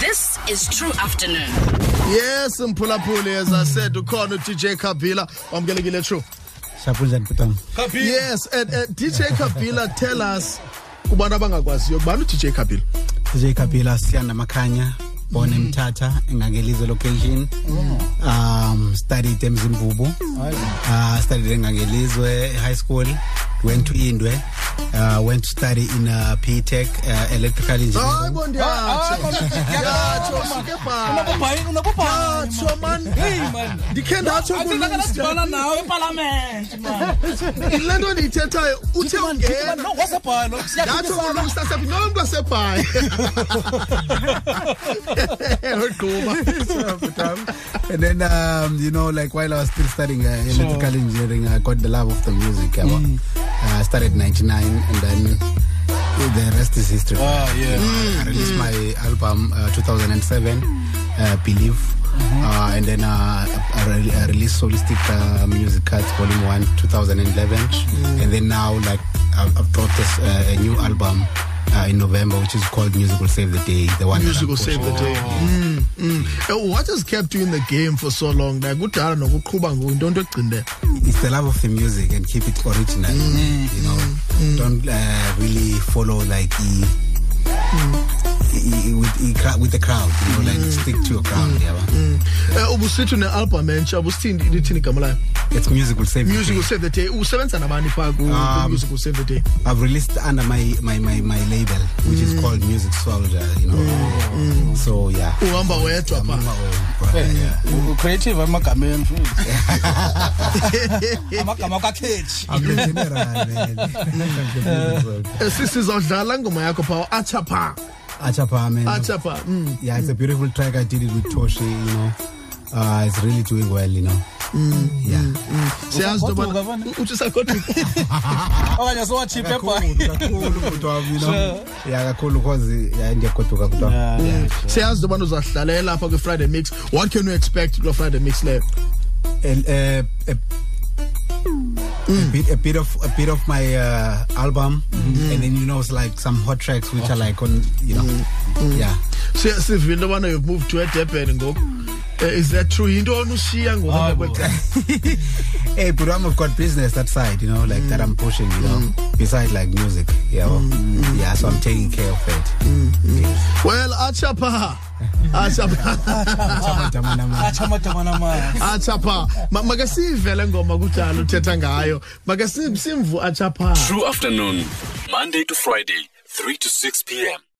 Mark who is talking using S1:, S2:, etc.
S1: This is True Afternoon.
S2: yes mphulaphuli as i said ukhona udj kabila wamkelekile true
S3: siyaphunjani bhutana
S2: yes and uh, dj kabila tell us kubantu abangakwaziyo kubani udj kabila
S3: dj kabila siyanda makhanya born emthatha engangelizwe location um studied emzimvubu uh, studied engangelizwe high school went to indwe uh, went to study in uh, p tech uh, electrical
S2: hayi
S3: engineering
S2: bo ndiyatsho usuke bhatsho
S4: Unokubhayi- unokubhayi,
S2: man
S4: man. man.
S2: ndikhe ndatsho
S4: Athi
S2: kulunga
S4: ndakadibana nawe epalamente, man.
S2: le nto ndiyithethayo uthe
S4: Man,
S2: ungena
S4: no, kwasebhalo.
S2: ndatsho kulunga sasephi nomntu asebhayi ogquba
S3: and then um, you know like while i was still studying uh, electrical engineering i got the love of the music yabo.
S4: Mm.
S3: uh, started 99 and then the rest is history Mm.
S4: Ah, yeah.
S3: I released my album uh, 2007, uh, Believe.
S4: Mm-hmm.
S3: Uh, and then uh, I, re- I released Solistic uh, Music Cuts Volume 1 2011.
S4: Mm.
S3: And then now, like, I've, I've brought this, uh, a new album uh, in November, which is called Music Will Save the Day. The one that
S2: music
S3: I'm
S2: will save the
S3: pushing.
S2: day
S4: Oh.
S2: Mm, mm. Eh, what has kept you in the game for so long like kudala nokuqhuba ngoku into nto egcinde
S3: It's the love of the music and keep it original.
S2: Mm-hmm.
S3: You know, don't uh, really follow, like, the. i- i- With, i- cra- with the crowd, you know,
S2: Mm-hmm.
S3: like stick to your crowd, yeah.
S2: um ubusithi ne-album entsha ubusithini lithini igama layo
S3: It's music will save the
S2: music
S3: day.
S2: will save the day usebenza nabani phaa
S3: Um,
S2: ku-music will save the day
S3: I've released under my my my, my label, which is
S2: Mm-hmm.
S3: called Music Soldier. You know, so yeah.
S2: uhamba wedwa
S3: I'm
S2: phaa
S3: on
S4: um,
S3: my own, right, yeah.
S4: ucreative emagameni futhi amagama kakhethi
S3: I'm the general, man. I'm the
S2: Eh, sisi zawudlala ingoma yakho phaa atsha phaa
S3: Achapa, man.
S2: atsha phaa Mm.
S3: Yeah, it's a beautiful track. I did it with Toshi. You know, uh, it's really doing well. You know. Yeah.
S2: siyazi into
S4: Usagoduka,
S2: yobana
S4: bana.
S2: uthi usagoduka
S4: okanye sowatshipe
S3: Kakhulu, kakhulu, mfowethu wami, you know. Yeah, kakhulu, 'cause, yeah, ndiyagoduka, mfowethu wami. Yeah.
S2: siyazi into yobana uzawuhlalela apha kwi-friday mix what can you expect kuloo friday mix leyo
S3: and uh, a, a bit a bit of a bit of my uh, album and then you know it's like some hot tracks which are like on you know yeah
S2: Si- sivile into yobana you've moved to edurban ngoku Eh, is that true yinto ona ushiya ngoku
S4: Hayi bo.
S2: kwexesha
S3: hey but I'm, I've got business that side you know like that I'm pushing you know beside like music you know yeah so I'm taking care of it
S2: well atsha phaa atsha phaa
S3: Chama, chama, nama.
S4: phephaachamatamanamanzi
S2: atsha phaa Ma- make siyive le ngoma kudala uthetha ngayo make si- simvu atsha phaa
S5: True afternoon, Monday to Friday, 3 to 6 p.m.